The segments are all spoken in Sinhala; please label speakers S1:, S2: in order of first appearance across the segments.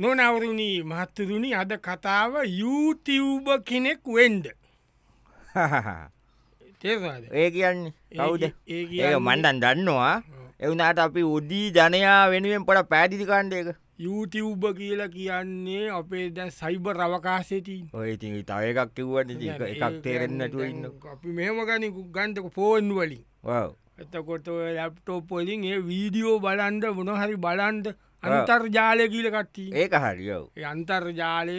S1: නොනවරුණී මහත්තුරුණි අද කතාව යුතිව්බ කෙනෙක් වෙන්ඩ තේරවාද
S2: ඒ කියන්න කවුද
S1: ඒ
S2: ඒ මණ්ඩන් දන්නවා එවනාට අපි උද්දී ජනයා වෙනුවෙන් පොට පෑදිි කාණ්ඩයක
S1: යුතිව්බ කියලා කියන්නේ අපේ දැ සයිබ රවකාසෙතින්
S2: ඔය ඉතින් තව එකක් කිව්වට ඉතින් එක- එකක් තේරෙන්නට ඉන්න
S1: අපි මෙමගනි ගන්ටක පෝන් වලින්
S2: ඔව්.
S1: එතකොට ලැප්ටෝ පොලින් ඒ වීඩියෝ බලන්ඩ මොනහරි බලන්ඩ අන්තර්ජාලය කියල කට්ටී
S2: ඒක හරිියව්
S1: ඒ අන්තර්ජාලය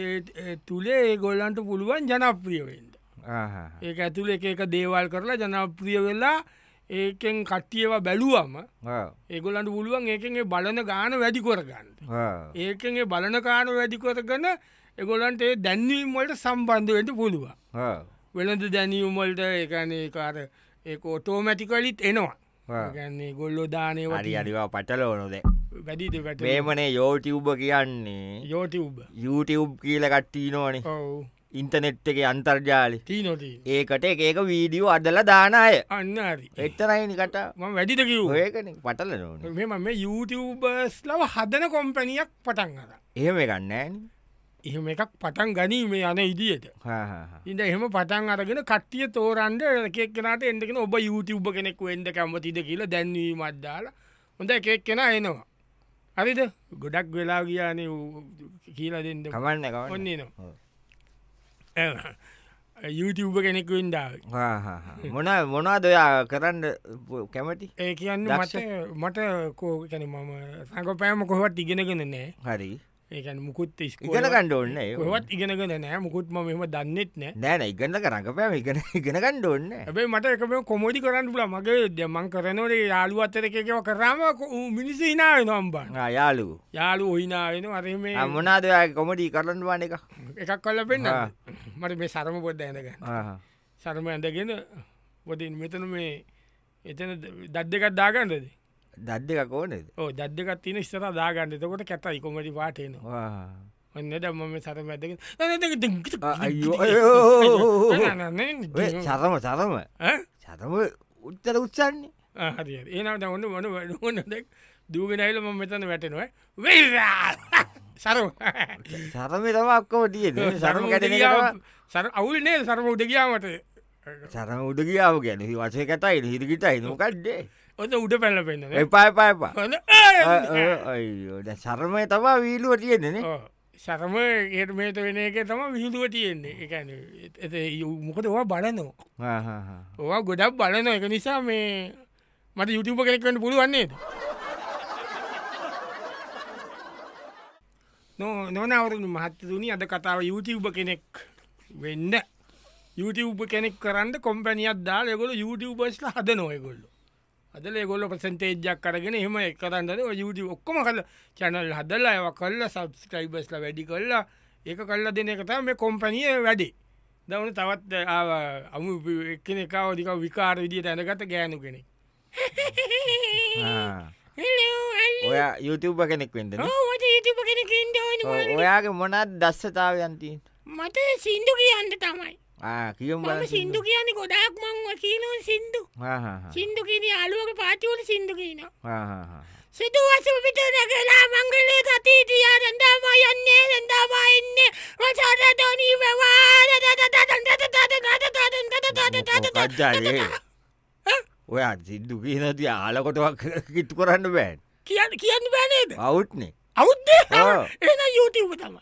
S1: තුළේ ඒ ගොල්ලන්ට පුළුවන් ජනප්‍රියවෙන්ට ඒක ඇතුළ එක එක දේවල් කරලා ජනප්‍රිය වෙලා ඒකෙන් කට්ටියව බැලුවම ඒගොලන්ට පුළුවන් ඒකගේ බලන ගාන වැඩි කොරගන්න ඒකගේ බලන කාන වැඩි කොරගන එගොලන්ට ඒ දැන්වීම්වලට සම්බන්ධවෙන්ට පුළුව වෙළඳ දැනියුම්වලට ඒකනේ කාර ඒ ෝටෝමැටිකලිත් එනවා
S2: ආ.
S1: ගන්නේ ගොල්ලෝ දානය
S2: හරි අරිවා පටලෝනොද
S1: වැඩිද වැට
S2: මේමනේ යෝටිව්බ කියන්නේ
S1: යෝටි උබ
S2: යුටව් කියල කට්ටී නෝනේ
S1: ඔවු
S2: ඉන්ටනෙට් එක අන්තර්ජාලි
S1: තිීනොතිී
S2: ඒකට එක ඒක වීඩියෝ අදල දාන අය
S1: අන්න හරි
S2: එක්තරයිනි කට
S1: මම වැඩිද කිව්
S2: ඒකන පටල නෝන
S1: මෙම යුබර්ස් ලව හදන කොම්පැනියක් පටන් අර
S2: එහෙම ගන්නෑ
S1: එහෙම එකක් පටන් ගැනීමේ යන ඉදියට ඉඳ එහෙම පටන් අරගෙන කට්ටිය තෝරන්ඩ එකක්නට එඩගෙන ඔබ යුතුබ කෙනෙක් වෙන්ඩ කැමතිද කියලා දැන්වීම අද්දාලා හොඳ එකක් කෙන එනවා හරිද ගොඩක් වෙලා ගියාන කියලා දෙන්න
S2: කමන්න කමන්න
S1: ඔන්නේ නවා යුතුබ කෙනෙක් වෙන්ඩාව
S2: මොන මොනා දොයා කරන්න පු- කැමති
S1: ඒ කියන්න
S2: දක්ෂ.
S1: මට මට කෝකැන මම සංකපෑම කොහවත් ඉගෙනගෙන නෑ
S2: හරි
S1: ඒකන් මුකුත්
S2: ඉගෙන
S1: ඉස්කොලවත්
S2: කණ්ඩ ඔන්න
S1: ඉගෙනගෙන නෑ මුකුත්ම මෙම දන්නෙත් නෑ
S2: නෑන ඉගන්න කරඟපෑම ඉගෙන ඉගෙන කණ්ඩ ඔන්න
S1: ඇබයි මට එකම කොමෝඩි කරන්න පුල මගේ දෙමන් කරනවරේ යාලු අත්තර එකකව කරාම මිනිස හිනාව නොම්බන්
S2: යාලු
S1: යාලු ඔහිනාවෙන අරම
S2: මොනා දොයා කොමඩි කරන්නවාන එක
S1: එකක් කල්ල පෙන්න්න
S2: ආ.
S1: මට මේ සරම පොඩ්ඩ ඇඳක
S2: ආහා.
S1: සරම ඇඳගෙන පොතින් මෙතන මේ එතන දත් දෙකත් දාගන්නද
S2: දත් දෙක ඕනෙද
S1: ඕ දද්දකත් තින ස්තර දාගන්න තකොට කැතයි කොමඩි පාටයනවා
S2: ආහා.
S1: ඔන්න දම මේ සරම ඇදක
S2: ආ, අයියෝ, අයෝ. ඔය සරම සරම සරම උත්තර උත්සන්නේ
S1: හරි ඒනට ඔන්න මොන වඩුවනදක් දූගෙනයිල ම මෙතන වැටෙනවා වෙරා සරු
S2: සරම තම අක්කම තියෙන සරම කැටන
S1: සර අවුල් නේ සරම උඩගියාවට
S2: සරම උඩගියාව ගැන වසේ කතයි හිරිකිටයි නොකක්්ඩේ
S1: ඔත උඩ පැල්ල පෙන්න්න
S2: එපාය පාපා සරමය තමා වීලුව තියෙනන
S1: සරම ඒමේත වෙන එක තම විහිදුව තියෙන්නේ එකන මොකද ඔවා බලනවා ඔවා ගොඩක් බලන එක නිසා මේ මට යුතුප කෙනෙක්වට පුළුවන්නේ නෝ නොනවරුණු මහත්තතුනි අද කතාව යුතුබ කෙනෙක් වෙන්න යුතුබ කෙනෙක් කරන්න කොම්පැනියක් දාල ගොල යුටබස්ල හද නොයගොල්ලු අදල ගොල ප්‍රසන්ටේජ්ජක් කරගෙන එහම එකරන්නද යුතු ඔක්කොම කල චැනල් හදල්ලා ඇව කල්ල සබස්ක්‍රයිබස්ල වැඩි කල්ලා ඒක කල්ල දෙන කතා මේ කොම්පැනිය වැඩි දවන තවත් ආව අමු එක්කෙන එකවදික විකාර විදිිය ඇනගත ගෑනු කෙනෙක්
S2: ඔය යුතුබ කෙනෙක් වෙන්දන
S3: යුතුප කෙනෙක් ඉන්න ඕන
S2: ඔයාගේ මොනත් දස්සතාවයන්තින්
S3: මට සින්දු කියන්න තමයි
S2: කියම්
S3: මම සින්දු කියන්නේ ගොඩාක් මංව කියීනව සින්දු සින්දු කියන අලුවක පාතිවල සින්දු කියන සිදු වසුපිට නැගලා මංගලේ තතීතිය රැඩාම යන්නේ රැඩාම එන්න වචරටනී
S2: කජ්ජාලේ
S3: වැවාරටටටටටටටටටටටටටටටටටටටටටටටටටටටටටටටටටටටටටටටටටටටටටටටටටටටටටටට
S2: ඔයා සිද්දු කියීන තිය අලකොටක් කිට් කරන්න බෑන්
S3: කියන්න කියන්න බැනේද
S2: අවුත්නේ
S3: අවුද්ද
S2: ආ.
S3: එන යුටව තමයි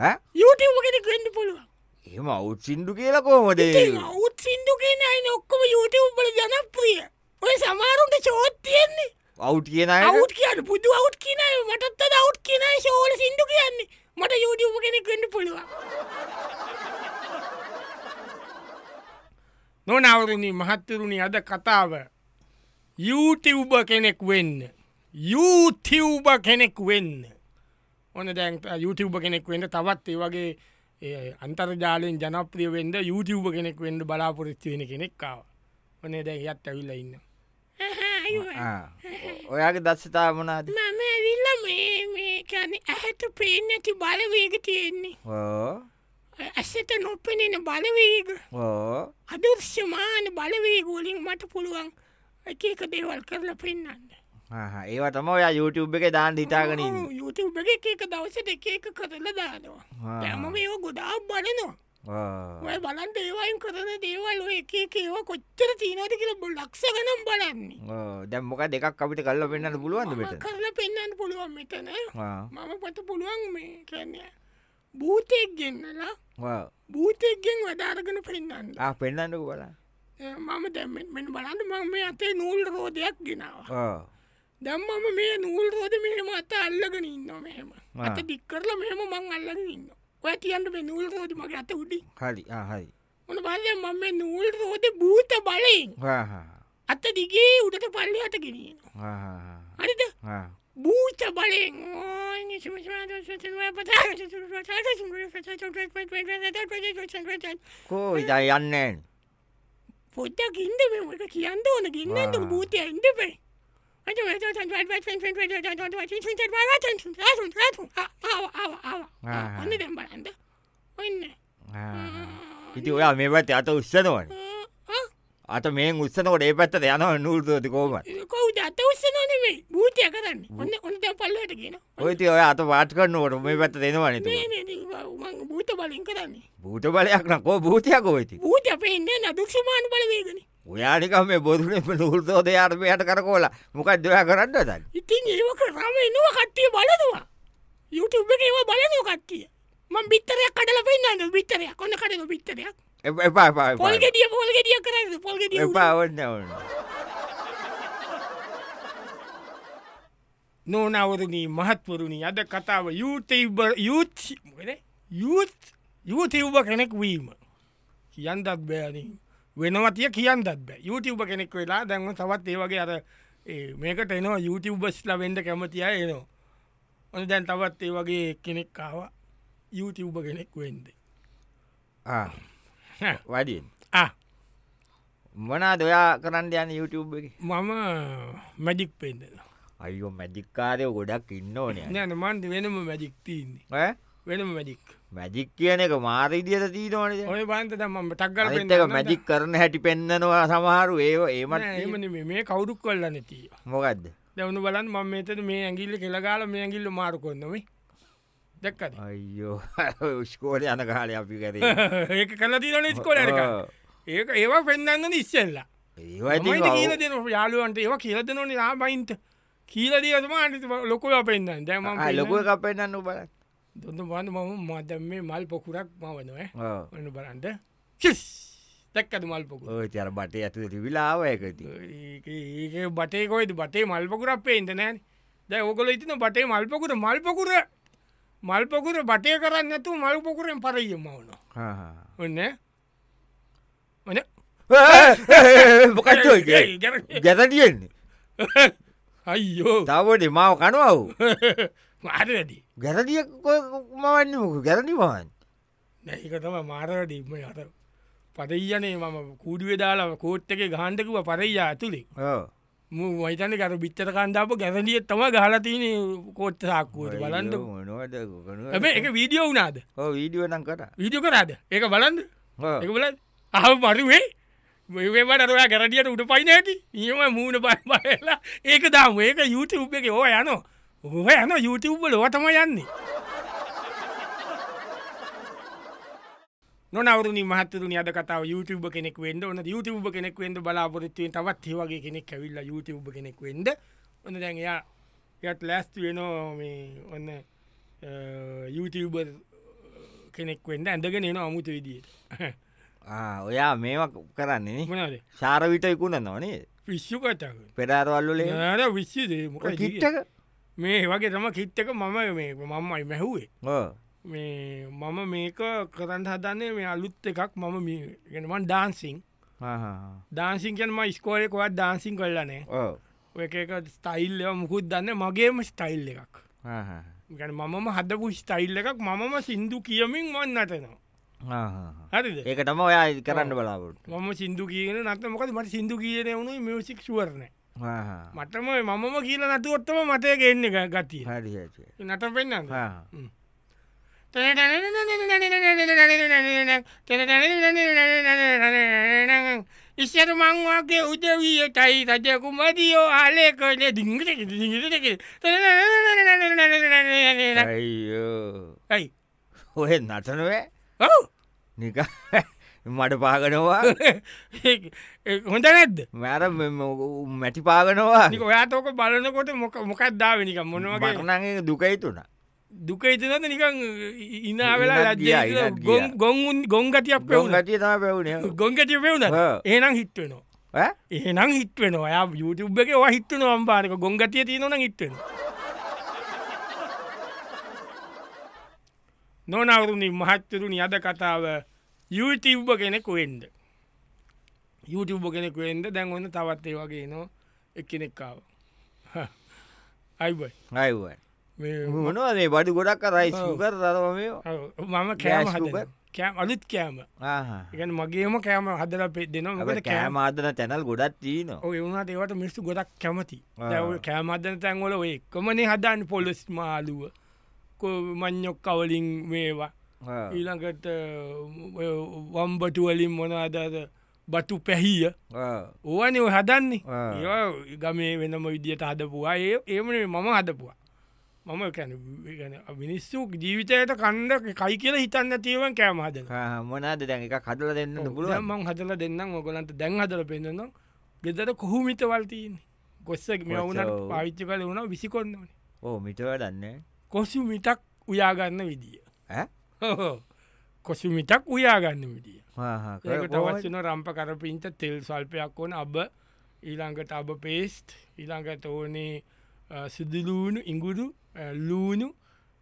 S2: හ?
S3: යුටව කෙනෙක් වෙන්න පුළුවන්
S2: එහෙම අවුත් සිින්දු කියලා කෝමදේ
S3: ඔවුත් සිින්දු කියන අයින ඔක්කොම යුටවුම්බල ජනප්‍රිය ඔය සමාරුන්ට චෝත් තියෙන්නේ
S2: අවුට් කියන
S3: අවුත් කියන්න පුදු අවුත් කියන අය, මටත්තද අවුත් කියන අය ශෝල සිින්දු කියන්නේ මට යුටවප කෙනෙක් වෙන්න පුළුවන්
S1: නොනවරණී මහත්තරුණි අද කතාව යුතිව්බ කෙනෙක් වෙන්න යුතිව්බ කෙනෙක් වෙන්න ඕන දැන් යුතිව්බ කෙනෙක් වෙන්න තවත් ඒ වගේ ඒ අන්තර්ජාලයෙන් ජනප්‍රිය වෙන්ද යුතිව්බ කෙනෙක් වෙන්න බලාපොරොත්තුවෙන කෙනෙක්කාව ඕනේ දැ යත් ඇවිල්ල ඉන්න
S3: අහා, අයියෝ.
S2: ඔයාගේ දස්සතා මනාද
S3: මම ඇවිල්ල මේ මේ කැන ඇහැට පේන ඇති බලවේග තියෙන්නේ
S2: ඕ
S3: අ- ඇසට නොපෙනෙන බලවේග
S2: ඕ
S3: අදර්ශ්‍යමාන බලවේගෝලින් මට පුළුවන් එක එක දේවල් කරලා පෙන්න්න
S2: ඒවා තම ඔයා YouTube එක දාන්න හිතාගනින්
S3: යුතුබ එක එක දවස දෙක එක කරලා දානවා දැම මේෝ ගොඩාක් බලනවා ඔය බලන් දේවයින් කරන දේවල් ඔය එක ඒව කොච්චර තිීනට කියල බොල් ලක්ෂ ගනම් බලන්නේ
S2: දැම්මොක දෙකක් අපිට කල්ල පෙන්න්න පුළුවන්ද
S3: මම
S2: බෙට
S3: කරලා පෙන්න්න පුළුවන් මෙතන මම පට පුළුවන් මේ කරනය භූතෙක් ගෙන්නලා භූතෙක්ගෙන් වඩාරගෙන පෙන්න්න
S2: පෙන්න්නක බලා
S3: මම දැමෙන් බලන්න මම මේ අතේ නූල් රෝධයක් ගෙනවා දැම්මම මේ නූල් රෝධ මෙහෙම අත අල්ලගෙන ඉන්න මෙහෙම
S2: ආ.
S3: අත දික්කරල මෙහෙම මං අල්ලගෙන ඉන්න ඔය තියන්ට මේ නූල් රෝධ මගේ අත උඩි
S2: හරි හරි
S3: මොන බලය මම මේ නූල් රෝධ භූත බලයෙන් අත දිගේ උඩට පල්ලහට ගෙනන හරිද භූත බලයෙන්
S2: කෝ ඉතා යන්නන්
S3: පොත්තක් ඉන්ද මේක කියන්න ඕන ගින්නන්න
S2: ආ.
S3: භූතය ඉන්දපේ ඔන්න දැම් බලන්ද ඔන්න
S2: ඉති ඔයා මේ පැත් අත උත්සනවන අත මේ උත්සනකොට ඒ පැත්තට යන නූල්තතිකෝම
S3: කවුද අත උස්සනනෙමේ භූතය කරන්න ඔන්න ඔන්න දැ පල්ලට කියෙන
S2: ඔයති ඔය අත වාට කරන්නකොට මේ පැත්ත දෙෙනවන
S3: භූත බලින් කරන්නේ
S2: බූට බලයක් නකෝ භූතියක් ඔයිති
S3: භූත පෙන්න්න නදුක්ෂමාන බලවේගෙන
S2: ඔයානික මේ බොදුනම නූල්තෝද අර්මයට කරකෝලා මොකක් දෙයා කරන්න දන්න
S3: ඉතින් ඒක රම එනවා කට්ටිය බලනවා යුතුබ එක ඒවා බලනෝ කට්ටිය මං බිත්තරයක් කඩල පෙන්න්න බිත්තරයක් කොන්න කඩන බිත්තරයක්
S2: එප එපා එපා එපා.
S3: පොල්ගෙටිය පොල්ගෙටිය කරන්න පොල්ගෙටිය
S2: එපා ඔන්න ඔන්න
S1: නෝනවරණී මහත්වරුණි අද කතාව යුතබ යුත් යුත් යුතිව්බ කෙනෙක් වීම කියන්නත් බෑන වෙනවතිය කියන්නත් බෑ යුතිව්බ කෙනෙක් වෙලා දැන්ව තවත් ඒවගේ අර ඒ මේකට එනවා යුතිව්බස් ලවෙන්ඩ කැමතිය එනවා ඔන දැන් තවත් ඒ වගේ කෙනෙක් කාව යුතිව්බ කෙනෙක් වෙන්ද
S2: ආ, වඩින්
S1: ආ
S2: මොනා දොයා කරන්න යන YouTube එක
S1: මම මැජික් පෙන්දෙන
S2: අයෝ මැජික්කාරයෝ ගොඩක් ඉන්න ඕනය
S1: නෑන මන්ද වෙනම මැජික් තියන්නේ වෙනම මැජික්
S2: මැජික් Eh? කියන එක මාරීදියට තීනවනද
S1: ඔය බන්ත දම්ම ටක්ගල
S2: අනිතක මැජික් කරන හැටි පෙන්න්නනවා සමහරු ඒ ඒමත්
S1: එමන මේ කවුරුක් කොල්ල නැතිය
S2: මොකක්ද
S1: දැවුණු බලන් මම මෙතන මේ ඇගිල්ල කෙළගාල මේ ඇගිල්ල මාරුකොන්නම දැක්කද
S2: අයියෝ උස්කෝල යන කාලය අපි කරේ
S1: ඒක කල තිරන ස්කොල ඒක ඒවා පෙන්න්න ඉස්සෙල්ලා මයිට කියල දෙන යාලුවන්ට ඒවා කියලද නොන ආබයින්ට කියීලදීම අනිත ලොකව පෙන්න්න දැම
S2: ලොකුව කපෙන්න්න උබල
S1: දොඳ බන්න මම මදම් මේ මල් පොකුරක් මවනව ඔන්න බලන්ට චිස් දැක්කද මල් පොකුර
S2: ඔය චර බටේ ඇතු විලාවයකති
S1: ඒක- ඒක බටේකොයිද බටේ මල්පකුරක් පේන්ට නෑන දැ ඕකොල ඉතින බටේ මල්පකුර මල්පකුර මල්පකුර බටය කරන්න ඇතු මල්පකුරෙන් පරයම වුණ ඔන්න වන
S2: මොකක්ෝ ගැතටියෙන්නේ
S1: අයියෝ
S2: තවට මාව කනුවව්
S1: මාරවැඩි
S2: ගැරදිය මවන්න මොක ගැරනිවාන්
S1: නැකතම මාරවැඩීම අත පරයනේ මම කූඩුවේ දාලාව කෝට් එක ගහන්ටකුව පරයියා ඇතුළේ මයිතන කර බිත්තර කණ්ඩාප ගැසලියත් තම ගහලතින කෝට්ට සාක්කුවට බලන්ට ඇබ එක වීඩියෝ වනාද
S2: වීඩියුවනම් කට
S1: වීඩියෝ කරාද ඒක බලන්ද එක බල අහ මරුවේ මේවටරයා ගැරටියට උට පයින ඇති නියම මූුණ පයි බලලා ඒක දාම ඒක යුතුබ් එක ඕ යන ඔහ යන යුතුබ්බල ඕතම යන්නේ නොනවරු මහතරු අද කතාව යුතුබ කෙනෙක් වෙන්ඩ ඕන යුතුබ කෙනෙක් වෙන්ඩ බලාපොරත්තුවෙන් තවත් ඒවගේ කෙනෙක් ඇවිල්ල යුතුබ කෙනෙක් වෙන්ඩ ඔන්න දැන්යා යත් ලැස්තු වෙනෝ මේ ඔන්න යුතුබ කෙනෙක් වෙන්ඩ ඇඳගෙන එන අමුතු විදිියට
S2: ඔයා මේම කරන්නේ
S1: මනද
S2: ශාරවිට ඉකුණ නොනේ
S1: විශ්ෂු කතාව
S2: පෙඩාරවල්ලුලේ
S1: නර විශ්්‍යදේ
S2: කිට්ටක
S1: මේ වගේ තම කිට්ටක මම මේ මමයි මැහුවේ මේ මම මේක කරන්න හදන්නේ මේ අලුත් එකක් මම ගෙනමන් ඩාන්සිං දාන්සිංකයන්ම ස්කෝලය කොත් දාන්සිං කරලනේ ඔය එක එක ස්ටයිල්ලව මුකුත් දන්න මගේම ස්ටයිල් එකක් ගැන මම හදපු ස්ටයිල් එකක් මම සින්දු කියමින් වන් නටනවා හරිද
S2: ඒක තම ඔයා කරන්න බලාපුට
S1: මම සිින්දු කියන නත්තමකද මට සිින්දු කියන වුණු මියසික් ුවරණ මටම මමම කියල නතුවොත්තම මතය ගෙන්න්න එක ගතිය
S2: හරි
S1: නට පෙන්න්න ඉස්සර මංවාගේ උදවී තයි රජයකු මදියෝ ආලය කරල දිංගටක දිගටක
S2: අයියෝ.
S1: ඇයි
S2: ඔය නතනුවේ
S1: ඔව්
S2: නික මට පාගනවා
S1: හොඳ නැද්ද
S2: මැර මැටි පාගනවා
S1: නික ඔයාතෝක බලනකොට මොක මොකක් දාවනික මොනවගේ
S2: මටනගේ දුකයිතුන
S1: දුක ඉතිනද නිකං ඉනාවෙලා
S2: ඉනත් ගියා,
S1: රජ්ජය
S2: ඉනත්
S1: ගොන්
S2: ගියා.
S1: ගොන් ගොංගතියක් පෙවුණ
S2: ගතිය තම පැවුණ
S1: ගොංගතිය පෙවුණ
S2: ඔව්.
S1: ඒනම් හිත්වෙනවා ඒනම් හිත්වෙනවා යා යුතුබ් එක වා හිත්වන අම්පාරක ගොංගතිය තියෙනවන හිත්වෙන නොනවරුණි මහත්තරුණි අද කතාව යුතිව්බ කෙනෙක් වෙන්ද යුතුබ කෙනෙක් වෙන්ද දැන් ඔන්න තවත්තේ වගේ නෝ එක්කෙනෙක්කාව අයිබයි
S2: අයිුව මොනවදේ බඩි ගොඩක් කරයි සුකර තරම
S1: මම කෑම
S2: ගෑස්
S1: හදනවා.
S2: සුගර්.
S1: කෑම අලුත් කෑම එකන මගේම කෑම හදල පෙත් දෙනවා මොකද කෑම
S2: කෑමාදන තැනල් ගොඩත් තිීන
S1: ඔය වුණට ඒවට මිස්සු ගොඩක් කැමති
S2: ආ.
S1: දැව කෑමදන තැන්වල ඔය කොමනේ හදන් පොලොස් මාලුව මං්ඥොක් කවලින් මේවා ඊළඟට ඔය වම්බටුවලින් මොනාදද බටු පැහිය ඕවනේ ඔය හදන්නේ
S2: ආ.
S1: ඒ ගමේ වෙනම විදිහට හදපුවා ඒ ඒමන මම හදපුවා මම කැන මිනිස්සු ජීවිතයට කණ්ඩ කයි කියලා හිතන්න තියවන් කෑම හදන
S2: මොනාද දැන් එක කටල දෙන්න පුළුවන්
S1: පුළුවන්මං හදල දෙන්නම් ඔගොලන්ට දැන් හදල පෙන්න්නම් ගෙදර කොහුමිත වල්තියන ගොස්සක් මෙවුනට
S2: ඔව්.
S1: පාවිච්ච කල වුණ විසිකොන්නන
S2: ඕ මිටවඩන්නේ
S1: කොසු මිටක් උයාගන්න විදිිය කොසු මිටක් උයාගන්න විදිිය ඒක තවත්න රම්ප කරපින්ට තෙල් සල්පයක් ඕන අබ ඊළඟට අබ පේස්ට් ඊළඟට ඕනේ අ, සුදුලූුණු ඉංගුරු අ, ලූුණු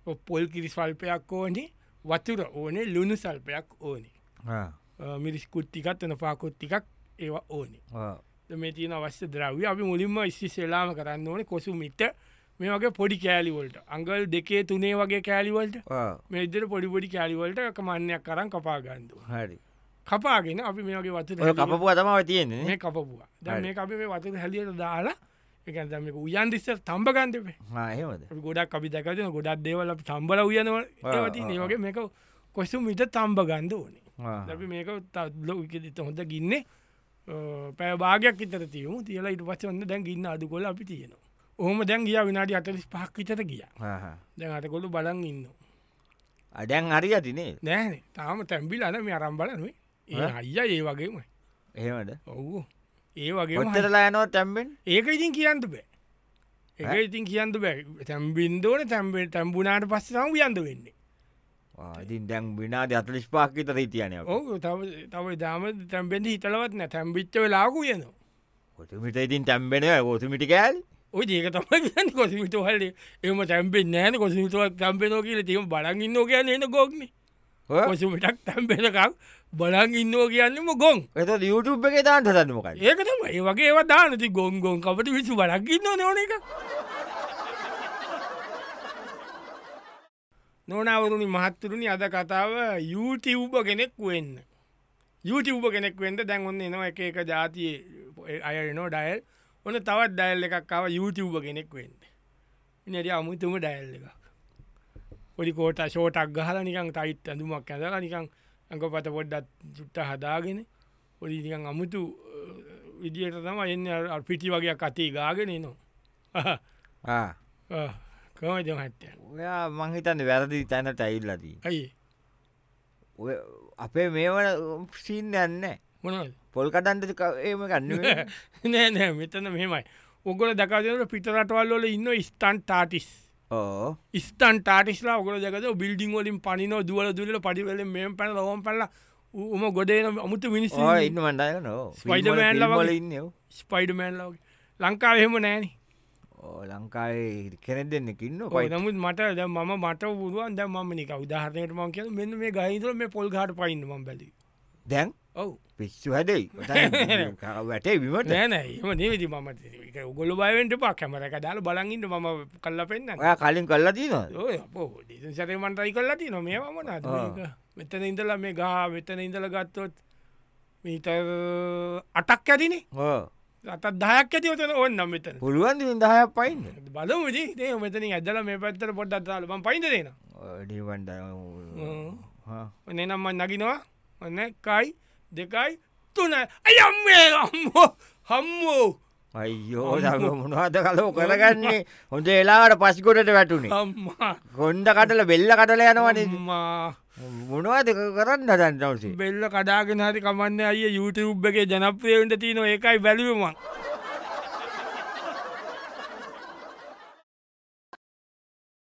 S1: ඔ පොල් කිරි සල්පයක් ඕනේ වතුර ඕනේ ලුණු සල්පයක් ඕනේ අ, මිරිස් කුට්ටිකත් වන පාකොත් ටිකක් ඒවා ඕනේ මේ තියන අවශ්‍ය ද්‍රව්‍ය අපි මුලින්ම ඉස්සිසෙලාම කරන්න ඕනේ කොසු මිට මේ වගේ පොඩි කෑලිවලට අංගල් දෙකේ තුනේ වගේ කෑලිවලට මෙදර පොඩිපොඩි කෑලිවලට කමන්නයක් කරන් කපාගන්දුව
S2: හරි
S1: කපාගෙන අපි මේ වගේ වතුර
S2: ඔය
S1: හැලියට-
S2: කපපු අතමාව තියෙන්නේ
S1: මේ කපපුවා දැ
S2: හරි.
S1: මේ අපි මේ වතුර හැලියට දාලා එකදම උයන්දිස්ස තම්බගන්දපේ
S2: හෙමද
S1: ගොඩක් අපි දැකතින ගොඩක් දේවල අපි තම්බල උයනව ඒවති
S2: ආ, ආ.
S1: ඒවගේ මේක කොසු මිට තම්බ ගන්ද ඕනේ දැි මේක තත්ලෝ විකදිත හොඳ ගින්නේ පැ භාගයක් ඉතර තියමු තියලා ඉට පසන්න දැන් ගින්න අඩු කොල අපි තියෙනවා ඕහම දැන් ගිය විනාඩි අතලිස් පහක් විතර ගිය දැන් අතකොළු බලන් ඉන්න
S2: අඩැන් හරි ඇතිනේ
S1: නෑන තාම තැම්බිල අන මේ අරම් බලනුවේ ඒ අයිය ඒ වගේම
S2: එහෙමට
S1: ඔව්ෝ ඒ වගේ
S2: ඔොත්තරලා යනෝ තැම්බෙන්
S1: ඒක ඉතින් කියන්නට බෑ ඒක ඉතින් කියන්න බෑ තැම්බින්දෝන තැම්බේ තැම්බුණට පස්සම යන්ද වෙන්නේ
S2: ඉතින් දැන් විනාද අතලිස් පාක්කිත හිතියනය
S1: ඕ තව තව දාම තැම්බෙන්ද හිතලවත් නෑ තැම්බිච්ච වෙලාකු යනවා
S2: කොතුමිට ඉතින් තැම්බෙන ගෝතුමිටි කෑල්
S1: ඔය ඒක තම කොසිමිට හල්ල එම තැම්පෙන් නෑන කොසිමිතුවක් තැම්පෙනෝ කියල තිීම බලගන්න කියන්න එන ගොක්න කොසුමිටක් තැම්පෙනකක් බලන් ඉන්නෝ කියන්නම ගොන්
S2: එත YouTube එක තාන්ට සන්නමකයි
S1: ඒකතම ඒ වගේ ඒවා දානති ගොන් ගොන් අපට විසු බලක්ගන්න නොන එක නොනවරුණි මහත්තුරුණි අද කතාව යුතිව්බ කෙනෙක් වෙන්න යුතිව්බ කෙනෙක් වෙන්ට දැන් ඔන්න එනවා එක එක ජාතියේ අය නෝ ඩයල් ඔන්න තවත් ඩයල් එකක්කාව යුතිව්බ කෙනෙක් වෙන්න ඉනට අමුතුම ඩයල් එකක් පොඩි කෝට ෂෝටක් ගහල නිකං ටයිත් ඇඳුමක් ඇදලා නිකං ඇඟ පත පොඩ්ඩත් ජුට්ට හදාගෙන පොඩි නිකං අමුතු විදියට තම එන්න අර- අර පිටි වගේ කතේ ගාගෙන නවා කමජ හට්ට
S2: ඔයා මංහිතන්න වැරදි තැන ටයිල්ලදී
S1: ඇයි
S2: ඔය අපේ මේවන සිීන් යන්න
S1: මොනවද
S2: පොල් කටන්ට ඒම ගන්න
S1: නෑ නෑ මෙතන මෙමයි ඔගොල දකදට පිටරටවල්ලොල ඉන්න ස්ටන් ටාටිස්
S2: ඕ
S1: ස්ටන් ටාටිස්ලා ඔගොල දකද බිල්ඩිං වලින් පනිනෝ දුවල දුල පඩිවල මෙම පැන ලොම් පල්ල උම ගොඩේන අමුතු මිනිස්
S2: ඕ ඉන්න මන්ඩය නෝ
S1: ස්පයිඩර්මෑන්ලා
S2: ල
S1: වගේ.
S2: ඉන්න
S1: ස්පයිඩමෑන්ලෝගේ ලංකාව එහෙම නෑනේ
S2: ඕ ලංකාවේ කෙනෙක් දෙන්නකින්න
S1: ඔය නමුත් මට ද ම මට පුරුවන් ද ම නික උදාහරනයට මං කිය මෙන්න මේ ගහිතර මේ පොල් ගහට පයින්නම බැලි
S2: දැන්
S1: ඔව
S2: පිස්සු හැදයි වැටේ විමට
S1: නෑනෑ එම නවිති මම උගොල බයවෙන්ට පා කැමරක දාල බලගින්ට මම කල්ල පෙන්න්න
S2: ඔය කලින් කල්ලා දීනවා
S1: ඔය සරේ මන්ටයි කල්ලති නො මේ මන මෙතන ඉඳලා මේ ගා වෙතන ඉඳල ගත්තොත් මීට අටක් ඇතිනේ
S2: ඕ
S1: අතත් දහයක් ඇති ඔතන ඔන්නම් මෙතන
S2: පුළුවන් දහය පයින්න
S1: බලමුද ඒ මෙතන ඇදල මේ පැත්තර පොඩ්ඩත් දාලම පයින්දරෙන
S2: ඩිවන්ඩ
S1: ඔන්න නම්මන් නගිනවා ඔන්න එකයි දෙකයි
S4: පත්වන ඇය අම්මේ අම්මෝ හම්මෝ
S2: අයියෝ මොනවාද කලෝ කරගන්නේ හොඳ එලාට පස්කොටට වැටුණේ
S4: අම්මා
S2: කොන්ඩ කටල බෙල්ල කටල යනවන
S4: අම්මා
S2: මොනවාද කරන්න දන්නවසේ
S4: බෙල්ල කඩාගෙන හරි කමන්න අය YouTube එකේ ජනප්‍රියවට තියන ඒකයි බැලුවමක්